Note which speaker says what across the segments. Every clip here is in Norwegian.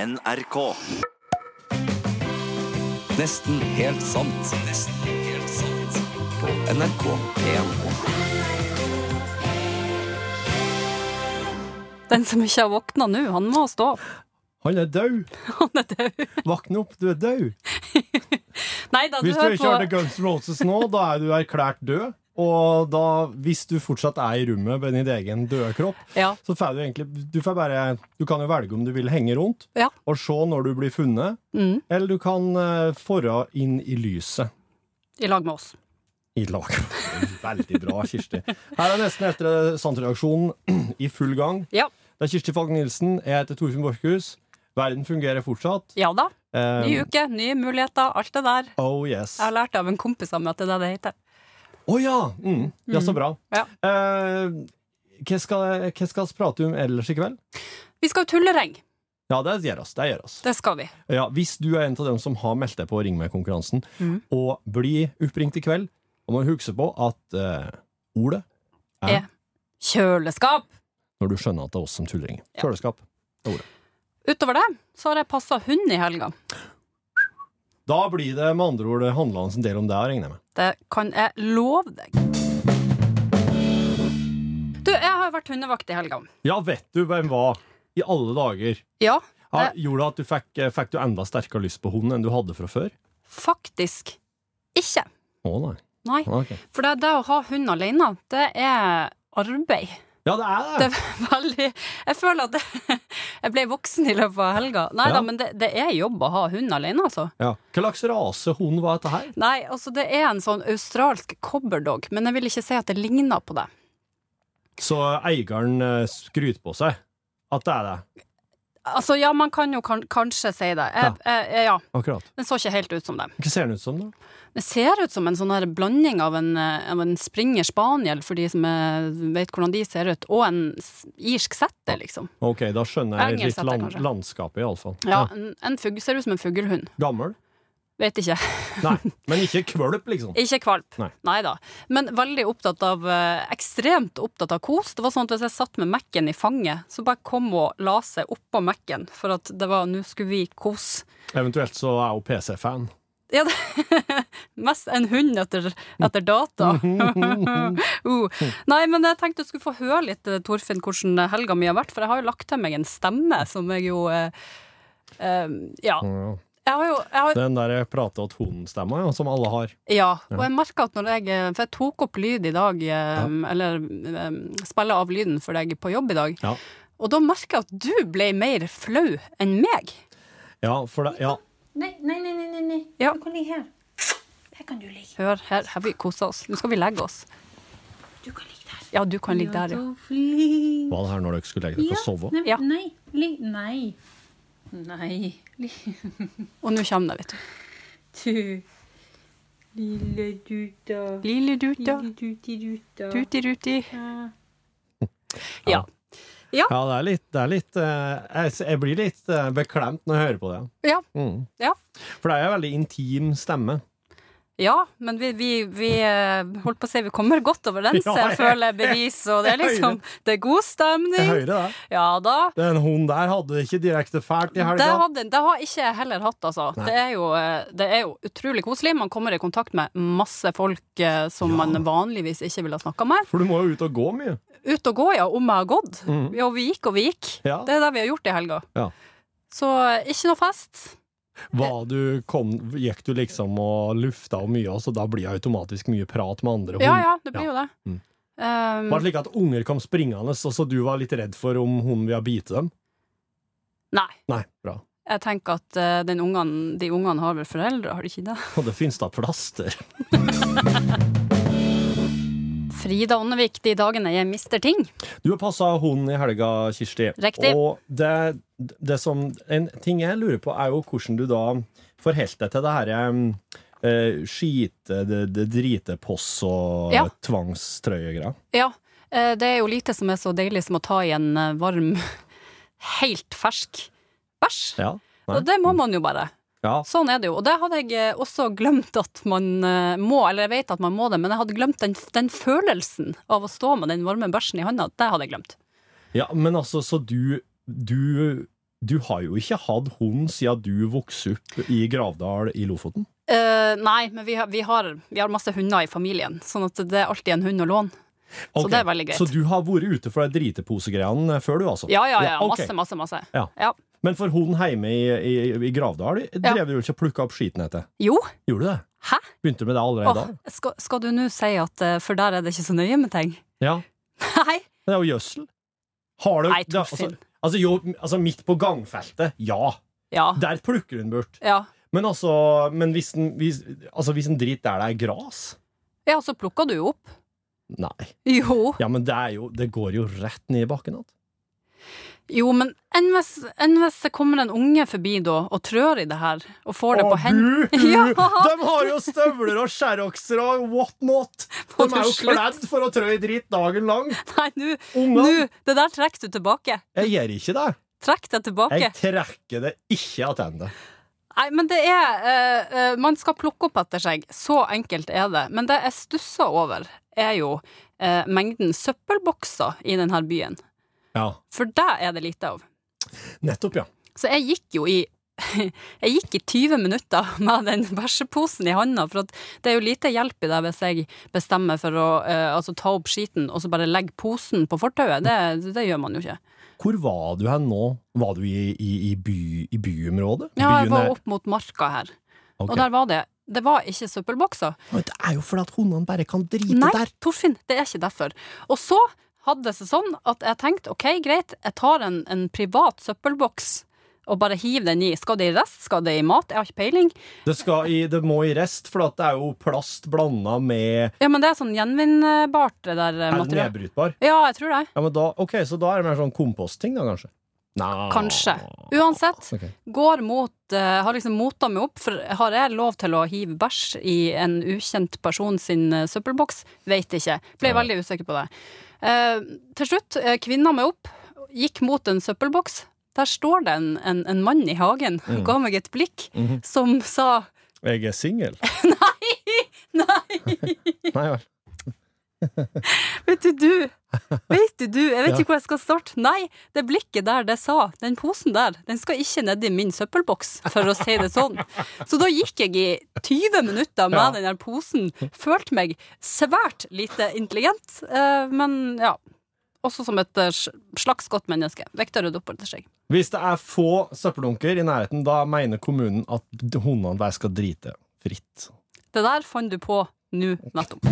Speaker 1: NRK.
Speaker 2: Nesten helt sant. Nesten helt sant. På NRK1.
Speaker 3: Den som ikke har våkna nå, han må stå opp.
Speaker 4: Han er død!
Speaker 3: Han er død.
Speaker 4: Våkne opp, du er død!
Speaker 3: Nei da, du
Speaker 4: Hvis du
Speaker 3: hører
Speaker 4: ikke hørte
Speaker 3: på
Speaker 4: Guns N' Roses nå, da er du erklært død. Og da, hvis du fortsatt er i rommet med din egen døde kropp,
Speaker 3: ja,
Speaker 4: så får du egentlig Du, får bare, du kan jo velge om du vil henge rundt
Speaker 3: Ja.
Speaker 4: og se når du blir funnet,
Speaker 3: mm,
Speaker 4: eller du kan uh, forre inn i lyset.
Speaker 3: i lag med oss.
Speaker 4: I lag. Veldig bra, Kirsti. Her er nesten etter Sandredaksjonen i full gang.
Speaker 3: Ja.
Speaker 4: Det er Kirsti Falk Nilsen. Jeg heter Torfinn Borchhus. Verden fungerer fortsatt.
Speaker 3: Ja da.
Speaker 4: Eh,
Speaker 3: Ny uke, nye muligheter, alt det der.
Speaker 4: oh yes.
Speaker 3: Jeg har lært av en kompis av meg at det er det det heter.
Speaker 4: Å ja! Mm. Ja, så bra.
Speaker 3: Ja.
Speaker 4: Eh, hva skal hva skal vi prate om ellers i kveld?
Speaker 3: Vi skal jo tullereng.
Speaker 4: Ja, det gjør oss. Det gjør oss.
Speaker 3: Det skal vi.
Speaker 4: Ja, hvis du er en av dem som har meldt deg på Ring meg-konkurransen,
Speaker 3: Mm.
Speaker 4: og blir oppringt i kveld, må du huske på at eh, ordet er
Speaker 3: Er. Kjøleskap!
Speaker 4: når du skjønner at det er oss som tullringer.
Speaker 3: Ja.
Speaker 4: Kjøleskap.
Speaker 3: Utover det så har jeg passa hund i helga.
Speaker 4: Da blir det med andre ord handlende en del om det, regner jeg med.
Speaker 3: Det kan jeg love deg. Du, jeg har vært hundevakt i helga.
Speaker 4: Ja, vet du hvem var i alle dager?
Speaker 3: Ja,
Speaker 4: Ja,
Speaker 3: Det-
Speaker 4: gjorde det at du fikk, eh, fikk du enda sterkere lyst på hunden enn du hadde fra før?
Speaker 3: faktisk ikke.
Speaker 4: Å nei.
Speaker 3: Nei.
Speaker 4: Ok.
Speaker 3: For det, det å ha hund alene, det er arbeid.
Speaker 4: Ja, det er det.
Speaker 3: Det er veldig Jeg føler at det, jeg ble voksen i løpet av helga. Nei da,
Speaker 4: Ja.
Speaker 3: men det, det er jobb å ha hund alene, altså.
Speaker 4: Ja. Hva slags rase hund var dette her?
Speaker 3: Nei, altså det er en sånn australsk cobberdog, men jeg vil ikke si at det ligner på det.
Speaker 4: Så eieren eh, skryter på seg at det er det.
Speaker 3: Altså ja, man kan jo kan, kanskje si det. Jeg, jeg, ja,
Speaker 4: Akkurat.
Speaker 3: den så ikke helt ut som det.
Speaker 4: Hva ser den ut som, da?
Speaker 3: Den ser ut som en sånn her blanding av en, eh, av en springer spaniel, for de som eh, vet hvordan de ser ut, og en s- irsk setter, liksom.
Speaker 4: Ok, da skjønner jeg
Speaker 3: Engelsk
Speaker 4: litt
Speaker 3: heter det
Speaker 4: land,
Speaker 3: kanskje.
Speaker 4: landskapet, iallfall.
Speaker 3: Ja, en, en fugl ser ut som en fuglehund.
Speaker 4: Gammel?
Speaker 3: Vet ikke.
Speaker 4: Nei. Men ikke kvølp, liksom.
Speaker 3: Ikke kvalp.
Speaker 4: Nei.
Speaker 3: da. Men veldig opptatt av eh, Ekstremt opptatt av kos. Det var sånn at Hvis jeg satt med Mac-en i fanget, så bare kom hun og la seg oppå Mac-en, for at det var Nå skulle vi kose.
Speaker 4: Eventuelt så er hun PC-fan.
Speaker 3: Ja, det, mest en hund etter, etter data. uh. Nei, men jeg tenkte jeg skulle få høre litt, eh, Torfinn, hvordan helga mi har vært. For jeg har jo lagt til meg en stemme som jeg jo eh, eh, Ja. Jeg har jo jeg har,
Speaker 4: Den der prate åt hunden-stemma, ja, som alle har.
Speaker 3: Ja, og jeg merka at når jeg eh, For jeg tok opp lyd i dag, eh, eller eh, spilla av lyden for deg på jobb i dag,
Speaker 4: Ja,
Speaker 3: og da merka jeg at du ble mer flau enn meg.
Speaker 4: ja for det Ja.
Speaker 5: Nei, nei, nei, nei, nei, nei.
Speaker 3: Ja.
Speaker 5: Du kan ligge her. Her kan du ligge.
Speaker 3: Hør, her har vi kosa oss. Nå skal vi legge oss.
Speaker 5: Du kan ligge der.
Speaker 3: Ja, du kan ligge der, ja.
Speaker 5: Så flink.
Speaker 4: Var det her når dere skulle legge dere og sove?
Speaker 5: Nei,
Speaker 3: Ja.
Speaker 5: nei, ligg. Nei. Nei. Li-
Speaker 3: Og nå kommer det, vet du.
Speaker 5: Du. Lille duta.
Speaker 3: Lille duta,
Speaker 5: Lille duti duta.
Speaker 3: tuti-ruti. Ja.
Speaker 5: Ja.
Speaker 4: Ja, det er litt, det er litt eh, jeg, jeg blir litt eh, beklemt når jeg hører på det.
Speaker 3: Ja.
Speaker 4: Mm.
Speaker 3: Ja.
Speaker 4: For det er jo en veldig intim stemme.
Speaker 3: Ja, men vi, vi, vi eh, holdt på å si vi kommer godt overens,
Speaker 4: Ja,
Speaker 3: jeg
Speaker 4: jeg-
Speaker 3: føler bevis, og det er
Speaker 4: jeg
Speaker 3: liksom Det er god
Speaker 4: Jeg
Speaker 3: stemning.
Speaker 4: hører det.
Speaker 3: Ja da.
Speaker 4: Den hunden der hadde det ikke direkte fælt i
Speaker 3: Det,
Speaker 4: helga.
Speaker 3: hadde, det har ikke jeg heller hatt, altså.
Speaker 4: Nei.
Speaker 3: Det er, jo, eh, det er jo utrolig koselig. Man kommer i kontakt med masse folk eh, som man vanligvis ikke ville ha snakka med.
Speaker 4: For du må jo ut og gå mye.
Speaker 3: Ut og gå, ja, om jeg har gått.
Speaker 4: Mhm.
Speaker 3: Ja, vi gikk og vi gikk.
Speaker 4: Ja.
Speaker 3: Det er det vi har gjort i helga.
Speaker 4: Ja.
Speaker 3: Så eh, ikke noe fest.
Speaker 4: Var du kom, gikk du liksom og lufta og mye, og så da blir det automatisk mye prat med andre
Speaker 3: Ja
Speaker 4: hund?
Speaker 3: ja, det blir jo det.
Speaker 4: Mhm.
Speaker 3: Um,
Speaker 4: Var det slik at unger kom springende, og så du var litt redd for om hunden ville bite dem?
Speaker 3: nei.
Speaker 4: Nei, bra.
Speaker 3: Jeg tenker at eh, den ungen, de ungene har vel foreldre, har de ikke det?
Speaker 4: Og det finnes da plaster.
Speaker 3: Frida Ånnevik, de dagene jeg mister ting.
Speaker 4: Du har passa hunden i helga, Kirsti.
Speaker 3: Riktig.
Speaker 4: Og det, det som En ting jeg lurer på, er jo hvordan du da forholdt deg til det herre eh, skite, det, det drite poss og
Speaker 3: Ja.
Speaker 4: tvangstrøye-greia.
Speaker 3: Ja, eh, det er jo lite som er så deilig som å ta i en eh, varm, helt fersk bæsj.
Speaker 4: Ja. Nei.
Speaker 3: Og det må man jo bare.
Speaker 4: ja.
Speaker 3: Sånn er det jo. Og det hadde jeg eh, også glemt at man eh, må, eller jeg vet at man må det, men jeg hadde glemt den, den følelsen av å stå med den varme bæsjen i handa. Det hadde jeg glemt.
Speaker 4: Ja, men altså, så du Du Du har jo ikke hatt hund siden du vokste opp i Gravdal i Lofoten.
Speaker 3: Eh, nei, men vi har, vi, har, vi har masse hunder i familien, sånn at det er alltid en hund å låne. Så
Speaker 4: Ok,
Speaker 3: det er veldig greit.
Speaker 4: Så du har vært ute for de driteposegreiene før, du, altså?
Speaker 3: Ja, ja, ja.
Speaker 4: ok.
Speaker 3: Masse, masse, masse.
Speaker 4: Ja.
Speaker 3: Ja.
Speaker 4: Men for hunden hjemme i, i, i Gravdal drev du jo ikke og plukka opp skiten etter?
Speaker 3: Jo.
Speaker 4: Gjorde du det?
Speaker 3: Hæ?
Speaker 4: Begynte du med det allerede
Speaker 3: Åh,
Speaker 4: da?
Speaker 3: skal, skal du nå si at eh, for der er det ikke så nøye med ting?
Speaker 4: Ja.
Speaker 3: Nei.
Speaker 4: Men det er jo gjødsel. Har du
Speaker 3: Nei,
Speaker 4: det-
Speaker 3: Torfinn.
Speaker 4: Altså, altså, jo, altså, midt på gangfeltet, ja.
Speaker 3: Ja.
Speaker 4: Der plukker hun bort.
Speaker 3: Ja.
Speaker 4: Men altså Men hvis en, hvis, altså, hvis en drit der det er gras
Speaker 3: ja, så plukka du jo opp.
Speaker 4: Nei.
Speaker 3: Jo.
Speaker 4: Ja, men det, er jo, det går jo rett ned i bakken igjen.
Speaker 3: Jo, men enn hvis, enn hvis det kommer en unge forbi da og trør i det her, og får det på hendene Ja.
Speaker 4: De har jo støvler og sherroxer og what not! De
Speaker 3: Må du
Speaker 4: er jo
Speaker 3: slutt?
Speaker 4: kledd for å trø i dritt dagen lang.
Speaker 3: Nei, nå- nå
Speaker 4: Ungene,
Speaker 3: Det der trekker du tilbake.
Speaker 4: jeg gjør ikke det.
Speaker 3: Trekk det tilbake.
Speaker 4: Jeg trekker det ikke tilbake.
Speaker 3: Nei, men det er eh, eh, Man skal plukke opp etter seg. Så enkelt er det. Men det jeg stusser over, er jo eh, mengden søppelbokser i denne byen.
Speaker 4: Ja.
Speaker 3: For det er det lite av.
Speaker 4: Nettopp, ja.
Speaker 3: Så jeg gikk jo i jeg gikk i 20 minutter med den bæsjeposen i handa, for at det er jo lite hjelp i det hvis jeg bestemmer for å eh, altså ta opp skiten og så bare legge posen på fortauet. Det, det gjør man jo ikke.
Speaker 4: Hvor var du hen nå? Var du i, i, i, by, i byområdet?
Speaker 3: Ja, jeg
Speaker 4: Byen
Speaker 3: var
Speaker 4: er-
Speaker 3: opp mot marka her,
Speaker 4: Ok.
Speaker 3: og der var det Det var ikke søppelbokser.
Speaker 4: Men Det er jo fordi at hundene bare kan drite
Speaker 3: Nei,
Speaker 4: der.
Speaker 3: Torfinn, det er ikke derfor. Og så hadde det seg sånn at jeg tenkte ok, greit, jeg tar en, en privat søppelboks og bare hiver den i. Skal det i rest? Skal det i mat? Jeg har ikke peiling.
Speaker 4: Det, skal i, det må i rest, for at det er jo plast blanda med
Speaker 3: Ja, men det er sånn gjenvinnbart, det der eh,
Speaker 4: Er det
Speaker 3: materialet.
Speaker 4: nedbrytbar?
Speaker 3: Ja, jeg tror det.
Speaker 4: Ja, men da, ok, Så da er det mer sånn kompostting, da, kanskje? Nei.
Speaker 3: Kanskje. Uansett,
Speaker 4: Ok.
Speaker 3: går mot eh, Har liksom mota meg opp, for har jeg lov til å hive bæsj i en ukjent person sin eh, søppelboks? Veit ikke. Ble
Speaker 4: Ja.
Speaker 3: veldig usikker på det. Eh, til slutt uh, kvinna meg opp, gikk mot en søppelboks. Der står det en, en, en mann i hagen og ga meg et blikk
Speaker 4: Mhm.
Speaker 3: som sa
Speaker 4: Jeg er singel.
Speaker 3: Nei,
Speaker 4: Nei vel.
Speaker 3: vet du du! Vet du du! Jeg vet
Speaker 4: Ja.
Speaker 3: ikke hvor jeg skal starte. Nei, det blikket der det sa, den posen der, den skal ikke ned i min søppelboks, for å si det sånn. Så da gikk jeg i 20 minutter med
Speaker 4: Ja.
Speaker 3: den der posen, følte meg svært lite intelligent, eh, men ja. Også som et eh, slags godt menneske. Viktig å rydde opp etter seg.
Speaker 4: Hvis det er få søppeldunker i nærheten, da mener kommunen at hundene bare skal drite fritt.
Speaker 3: Det der fant du på nå nettopp.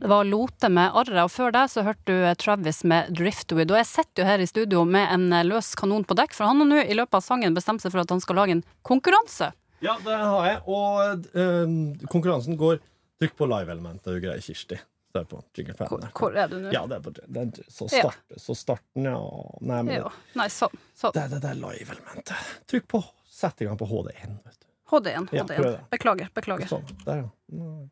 Speaker 3: Det var Lote med Arra, og før det så hørte du eh, Travis med Driftwood. Og jeg sitter jo her i studio med en eh, løs kanon på dekk, for han har nå i løpet av sangen bestemt seg for at han skal lage en konkurranse.
Speaker 4: Ja, det har jeg. Og eh, konkurransen går Trykk på live-elementet, du greier, Kirsti. Det er på jingle på
Speaker 3: Hvor,
Speaker 4: NRK.
Speaker 3: hvor er du nå?
Speaker 4: Ja, det er på den, så,
Speaker 3: Ja.
Speaker 4: start, så starten, ja Nei, men
Speaker 3: Jo. Nei, sånn. Så.
Speaker 4: Det er det der live-elementet. Trykk på Sett i gang på HD1. vet du.
Speaker 3: HD1.
Speaker 4: Ja,
Speaker 3: HD1.
Speaker 4: prøv det.
Speaker 3: Beklager. Beklager.
Speaker 4: Sånn. Der, ja. Mm.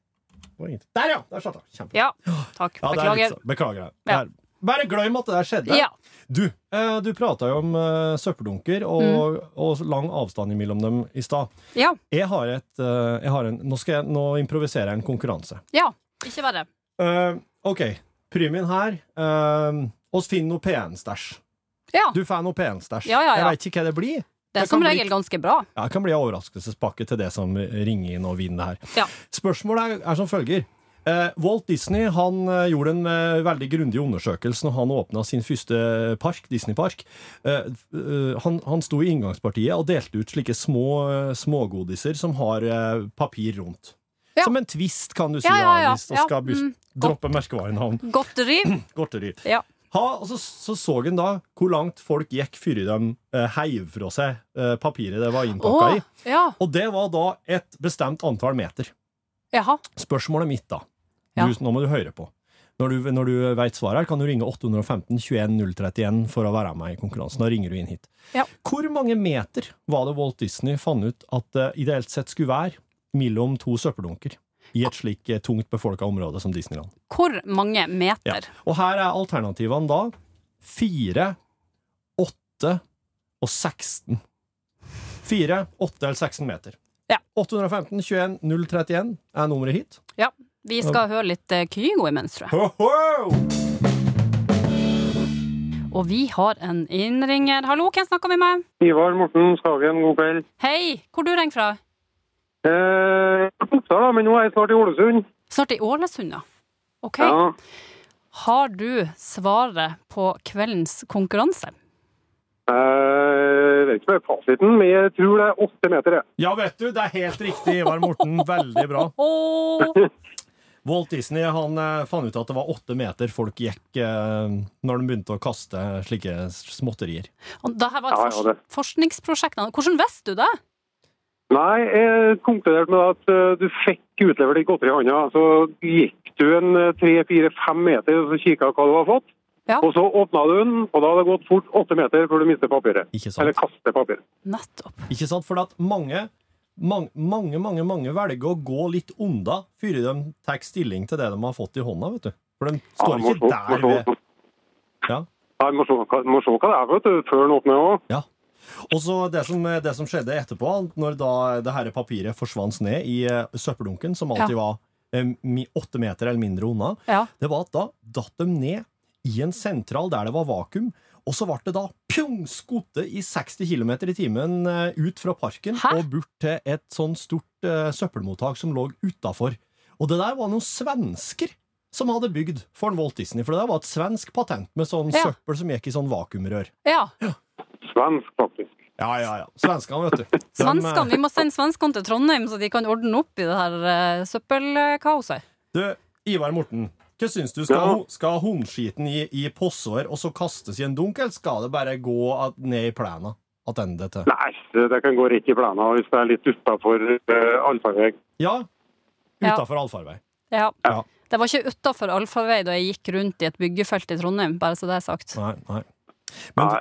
Speaker 4: Det var ingenting. Der, ja! Der satt den. Kjempe.
Speaker 3: Ja, takk.
Speaker 4: Ja, det er litt
Speaker 3: Beklager.
Speaker 4: sånn. Beklager. jeg.
Speaker 3: Ja.
Speaker 4: Det er- Bare glem at det der skjedde.
Speaker 3: Ja.
Speaker 4: Du, eh, du prata jo om eh, søppeldunker
Speaker 3: Mm.
Speaker 4: og, og lang avstand imellom dem i stad.
Speaker 3: Ja.
Speaker 4: Jeg har et, eh, jeg har en, nå, skal jeg, nå improviserer jeg en konkurranse.
Speaker 3: ja. Ikke verre.
Speaker 4: Eh, OK. Primin her. Eh, oss finner noe PN-stæsj.
Speaker 3: Ja.
Speaker 4: Du får noe PN-stæsj.
Speaker 3: Ja, ja, ja.
Speaker 4: Jeg veit ikke hva det blir.
Speaker 3: Det
Speaker 4: det
Speaker 3: er som
Speaker 4: kan bli-
Speaker 3: regel ganske bra.
Speaker 4: Ja, det kan bli en overraskelsespakke til det som ringer inn og vinner her.
Speaker 3: Ja.
Speaker 4: Spørsmålet er, er som følger. Eh, Walt Disney han eh, gjorde en eh, veldig grundig undersøkelse når han åpna sin første park, Disneypark. Eh, f- eh, han, han sto i inngangspartiet og delte ut slike små eh, smågodiser som har eh, papir rundt.
Speaker 3: Ja.
Speaker 4: Som en twist, kan du si,
Speaker 3: Ja, ja,
Speaker 4: da,
Speaker 3: ja.
Speaker 4: hvis du
Speaker 3: Ja,
Speaker 4: skal bus-
Speaker 3: mm,
Speaker 4: droppe merkevarenavn.
Speaker 3: Godt riv.
Speaker 4: Godteri.
Speaker 3: Ja.
Speaker 4: Ha, og så så, så en da hvor langt folk gikk før de eh, heiv fra seg eh, papiret det var innpakka
Speaker 3: Å,
Speaker 4: i.
Speaker 3: ja.
Speaker 4: Og det var da et bestemt antall meter.
Speaker 3: Jaha.
Speaker 4: Spørsmålet mitt, da.
Speaker 3: Ja.
Speaker 4: Du, nå må du høre på. Når du, når du veit svaret, her, kan du ringe 815 21 031 for å være med i konkurransen. Da ringer du inn hit.
Speaker 3: Ja.
Speaker 4: Hvor mange meter var det Walt Disney fant ut at det ideelt sett skulle være mellom to søppeldunker i et slik eh, tungt befolka område som Disneyland?
Speaker 3: Hvor mange meter?
Speaker 4: Og her er alternativene da 4, 8 og 16. 4, 8 eller 16 meter.
Speaker 3: Ja.
Speaker 4: 815 21 031 er nummeret hit.
Speaker 3: Ja, vi skal høre litt eh, Kygo imens, tror jeg.
Speaker 4: Ho-ho!
Speaker 3: Og vi har en innringer. Hallo, hvem snakker vi med?
Speaker 1: Ivar Morten Skagen, god kveld.
Speaker 3: Hei, hvor du ringer fra?
Speaker 1: Eh, jeg er på Oppdal, da, men nå er jeg snart i Ålesund.
Speaker 3: Snart i Ålesund, ja. OK.
Speaker 1: Ja.
Speaker 3: Har du svaret på kveldens konkurranse?
Speaker 1: Eh, jeg vet ikke hva er fasiten, men jeg tror det er åtte meter. jeg.
Speaker 4: Ja, vet du, det er helt riktig, Ivar Morten. Veldig bra.
Speaker 3: Åh,
Speaker 4: Walt Disney han eh, fant ut at det var åtte meter folk gikk eh, når de begynte å kaste slike småtterier.
Speaker 3: Og det her var et
Speaker 1: Ja, ja,
Speaker 3: fors-
Speaker 1: det.
Speaker 3: forskningsprosjekt. Hvordan visste du det?
Speaker 1: Nei, jeg konkluderte med at eh, du fikk utlevert ditt godteri i hånda. Så gikk du en eh, tre, fire, fem meter og så kikka hva du hadde fått.
Speaker 3: Ja.
Speaker 1: Og så åpna du den, og da hadde det gått fort åtte meter før du mistet papiret.
Speaker 4: Ikke sant?
Speaker 1: Eller kastet papiret.
Speaker 3: Nettopp.
Speaker 4: Ikke sant? For at mange, mange, mange, mange, mange velger å gå litt unna før de tar stilling til det de har fått i hånda, vet du. For de
Speaker 1: Ja,
Speaker 4: står
Speaker 1: må
Speaker 4: ikke
Speaker 1: se- må
Speaker 4: der
Speaker 1: se-
Speaker 4: ved ja.
Speaker 1: Nei, må se hva- må se hva det er, vet du, før den åpner òg.
Speaker 4: Ja. Og så det som, det som skjedde etterpå, når da det her papiret forsvant ned i eh, søppeldunken, som alltid var eh, mi- åtte meter eller mindre unna,
Speaker 3: Ja.
Speaker 4: det var at da datt de ned i en sentral der det var vakuum, og så ble det da pjong skutte i 60 km i timen eh, ut fra parken
Speaker 3: Hæ?
Speaker 4: og bort til et sånn stort eh, søppelmottak som lå utafor. Og det der var noen svensker som hadde bygd for en Walt Disney, for det der var et svensk patent med sånn
Speaker 3: Ja.
Speaker 4: søppel som gikk i sånn vakuumrør.
Speaker 3: ja.
Speaker 1: Svensk, faktisk.
Speaker 4: Ja, ja, ja. Svenskene, vet du. De,
Speaker 3: Svenskene.
Speaker 4: eh,
Speaker 3: Vi må sende svenskene til Trondheim, så de kan ordne opp i det her eh, søppelkaoset.
Speaker 4: Du, Ivar Morten. Hva syns du? Skal,
Speaker 1: Ja.
Speaker 4: ho- skal hundskiten i, i posseår og så kastes i en dunk, eller skal det bare gå at, ned i plena? Attende til.
Speaker 1: Nei, det det kan gå rett i plena hvis det er litt utafor uh, allfarvei.
Speaker 4: Ja.
Speaker 3: Ja.
Speaker 4: Utafor allfarvei.
Speaker 3: Ja.
Speaker 4: Ja.
Speaker 3: Det var ikke utafor allfarvei da jeg gikk rundt i et byggefelt i Trondheim, bare så det er sagt.
Speaker 4: Nei, nei. Men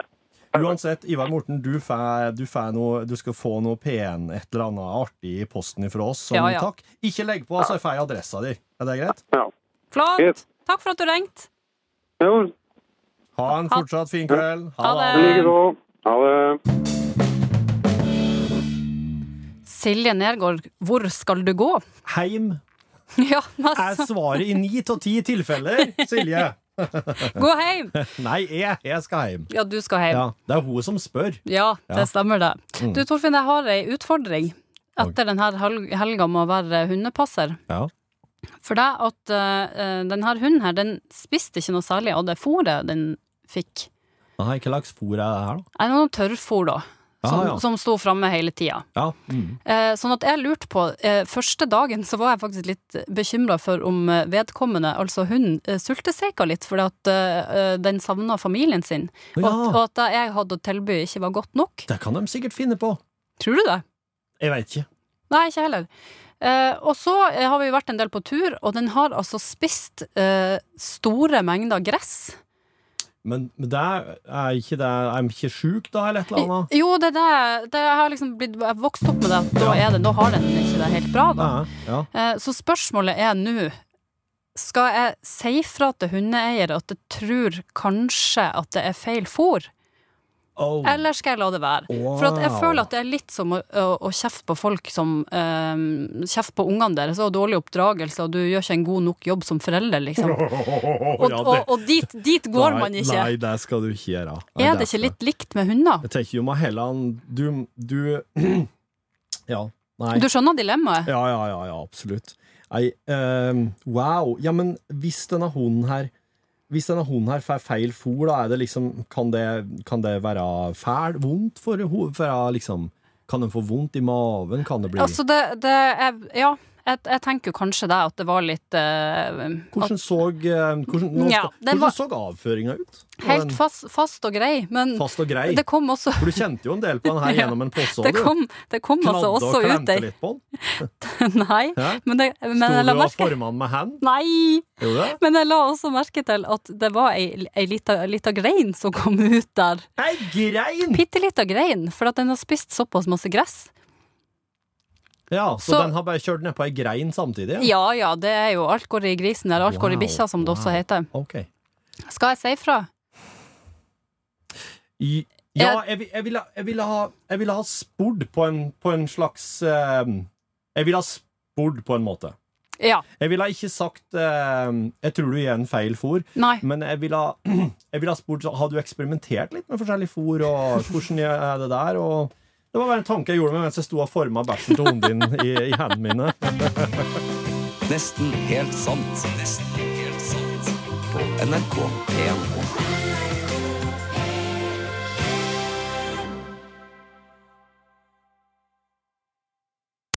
Speaker 1: Nei.
Speaker 4: uansett, Ivar Morten, du, fæ, du, fæ noe, du skal få noe P1, et eller annet artig i posten ifra oss som
Speaker 3: Ja, ja.
Speaker 4: takk. Ikke legg på, så får jeg adressa di. Er det greit?
Speaker 1: Ja.
Speaker 3: Flott!
Speaker 1: Yes.
Speaker 3: Takk for at du ringte.
Speaker 1: Jo,
Speaker 4: Ha en fortsatt fin kveld.
Speaker 3: Ha
Speaker 1: i
Speaker 3: det.
Speaker 1: like så. Ha det.
Speaker 3: Silje Nergård, hvor skal du gå?
Speaker 4: Heim
Speaker 3: Ja,
Speaker 4: er
Speaker 3: altså,
Speaker 4: svaret i ni av ti tilfeller, Silje.
Speaker 3: gå hjem!
Speaker 4: Nei, jeg, jeg skal hjem.
Speaker 3: Ja, du skal hjem.
Speaker 4: Ja, det er hun som spør.
Speaker 3: Ja, Mm. det
Speaker 4: Ja.
Speaker 3: stemmer det. Du Torfinn, jeg har ei utfordring etter denne helga med å være hundepasser.
Speaker 4: Ja.
Speaker 3: For det at eh, denne hunden her, den spiste ikke noe særlig av det fôret den fikk.
Speaker 4: Nei, hva slags fôr er det her, da?
Speaker 3: Er det noe tørrfôr, da? Som,
Speaker 4: Ah, ja.
Speaker 3: som sto framme hele tida.
Speaker 4: Ja. Mm.
Speaker 3: Eh, sånn at jeg lurte på eh, Første dagen så var jeg faktisk litt bekymra for om eh, vedkommende, altså hunden, eh, sultestreika litt fordi at eh, eh, den savna familien sin.
Speaker 4: Å,
Speaker 3: Og, at, og
Speaker 4: ja.
Speaker 3: at det jeg hadde å tilby, ikke var godt nok.
Speaker 4: Det kan de sikkert finne på.
Speaker 3: Tror du det?
Speaker 4: Jeg veit ikke.
Speaker 3: Nei, ikke heller. Eh, og så eh, har vi vært en del på tur, og den har altså spist eh, store mengder gress.
Speaker 4: Men, men det er, er ikke det Er de ikke sjuk, da, eller et eller annet?
Speaker 3: Jo, det er det, det jeg har liksom blitt jeg har vokst opp med det. at Da, er det, da har den ikke det helt bra, da.
Speaker 4: Ja, ja.
Speaker 3: Eh, så spørsmålet er nå Skal jeg si fra til hundeeier at jeg tror kanskje at det er feil fôr,
Speaker 4: Oh.
Speaker 3: eller skal jeg la det være? For at jeg
Speaker 4: Wow.
Speaker 3: føler at det er litt som å, å, å kjefte på folk som eh, Kjefte på ungene deres og dårlig oppdragelse, og du gjør ikke en god nok jobb som forelder, liksom. Og,
Speaker 4: Ja,
Speaker 3: og,
Speaker 4: det-
Speaker 3: og dit, dit går
Speaker 4: Nei,
Speaker 3: man ikke.
Speaker 4: Nei, det skal du ikke gjøre. Nei,
Speaker 3: Er det ikke
Speaker 4: skal-
Speaker 3: litt likt med hunder?
Speaker 4: Jeg tenker jo meg heller an- Du, du Ja. Nei.
Speaker 3: Du skjønner dilemmaet?
Speaker 4: Ja, ja, ja, ja absolutt. Nei, ehm, wow. Ja, men hvis denne hunden her hvis denne hunden her får feil fôr, da er det liksom, kan, det, kan det være fæl, vondt for henne? Liksom, kan den få vondt i maven? Kan det bli
Speaker 3: Altså, det, det er Ja, jeg, jeg tenker jo kanskje det, at det var litt eh, at,
Speaker 4: Hvordan så, eh, hvordan, nå
Speaker 3: Ja,
Speaker 4: skal,
Speaker 3: den
Speaker 4: hvordan
Speaker 3: var-
Speaker 4: så avføringa ut? Var
Speaker 3: Helt
Speaker 4: den
Speaker 3: fast, fast og grei, men
Speaker 4: fast og grei?
Speaker 3: det kom også
Speaker 4: For du kjente jo en del på den her
Speaker 3: Ja,
Speaker 4: gjennom en pose.
Speaker 3: det kom, det kom altså også ut ei
Speaker 4: litt på den.
Speaker 3: Nei,
Speaker 4: Hæ?
Speaker 3: men, det, men
Speaker 4: Sto
Speaker 3: jeg la
Speaker 4: du og
Speaker 3: merke
Speaker 4: forma den med hand?
Speaker 3: Nei!
Speaker 4: Gjorde du det?
Speaker 3: Men jeg la også merke til at det var ei, ei lita, lita grein som kom ut der.
Speaker 4: Ei grein!
Speaker 3: Bitte lita grein, for at den har spist såpass masse gress.
Speaker 4: Ja, så,
Speaker 3: Så-
Speaker 4: den har bare kjørt nedpå ei grein samtidig?
Speaker 3: Ja ja, det er jo alt går i grisen, eller alt går i
Speaker 4: Wow,
Speaker 3: bikkja, som det også
Speaker 4: wow.
Speaker 3: heter.
Speaker 4: Ok.
Speaker 3: Skal jeg si fra?
Speaker 4: I, ja, jeg, vil- jeg, ville, jeg, ville ha, jeg ville ha spurt på en, på en slags eh, Jeg ville ha spurt på en måte.
Speaker 3: Ja.
Speaker 4: Jeg ville ikke sagt eh, Jeg tror du gjør en feil fôr,
Speaker 3: Nei.
Speaker 4: men jeg ville, jeg ville ha spurt så, Har du eksperimentert litt med forskjellig fôr, og hvordan er det der? Og det var bare en tanke jeg gjorde meg mens jeg sto og forma bæsjen til hunden din i, i hendene mine.
Speaker 2: Nesten helt sant. Nesten helt sant. På NRK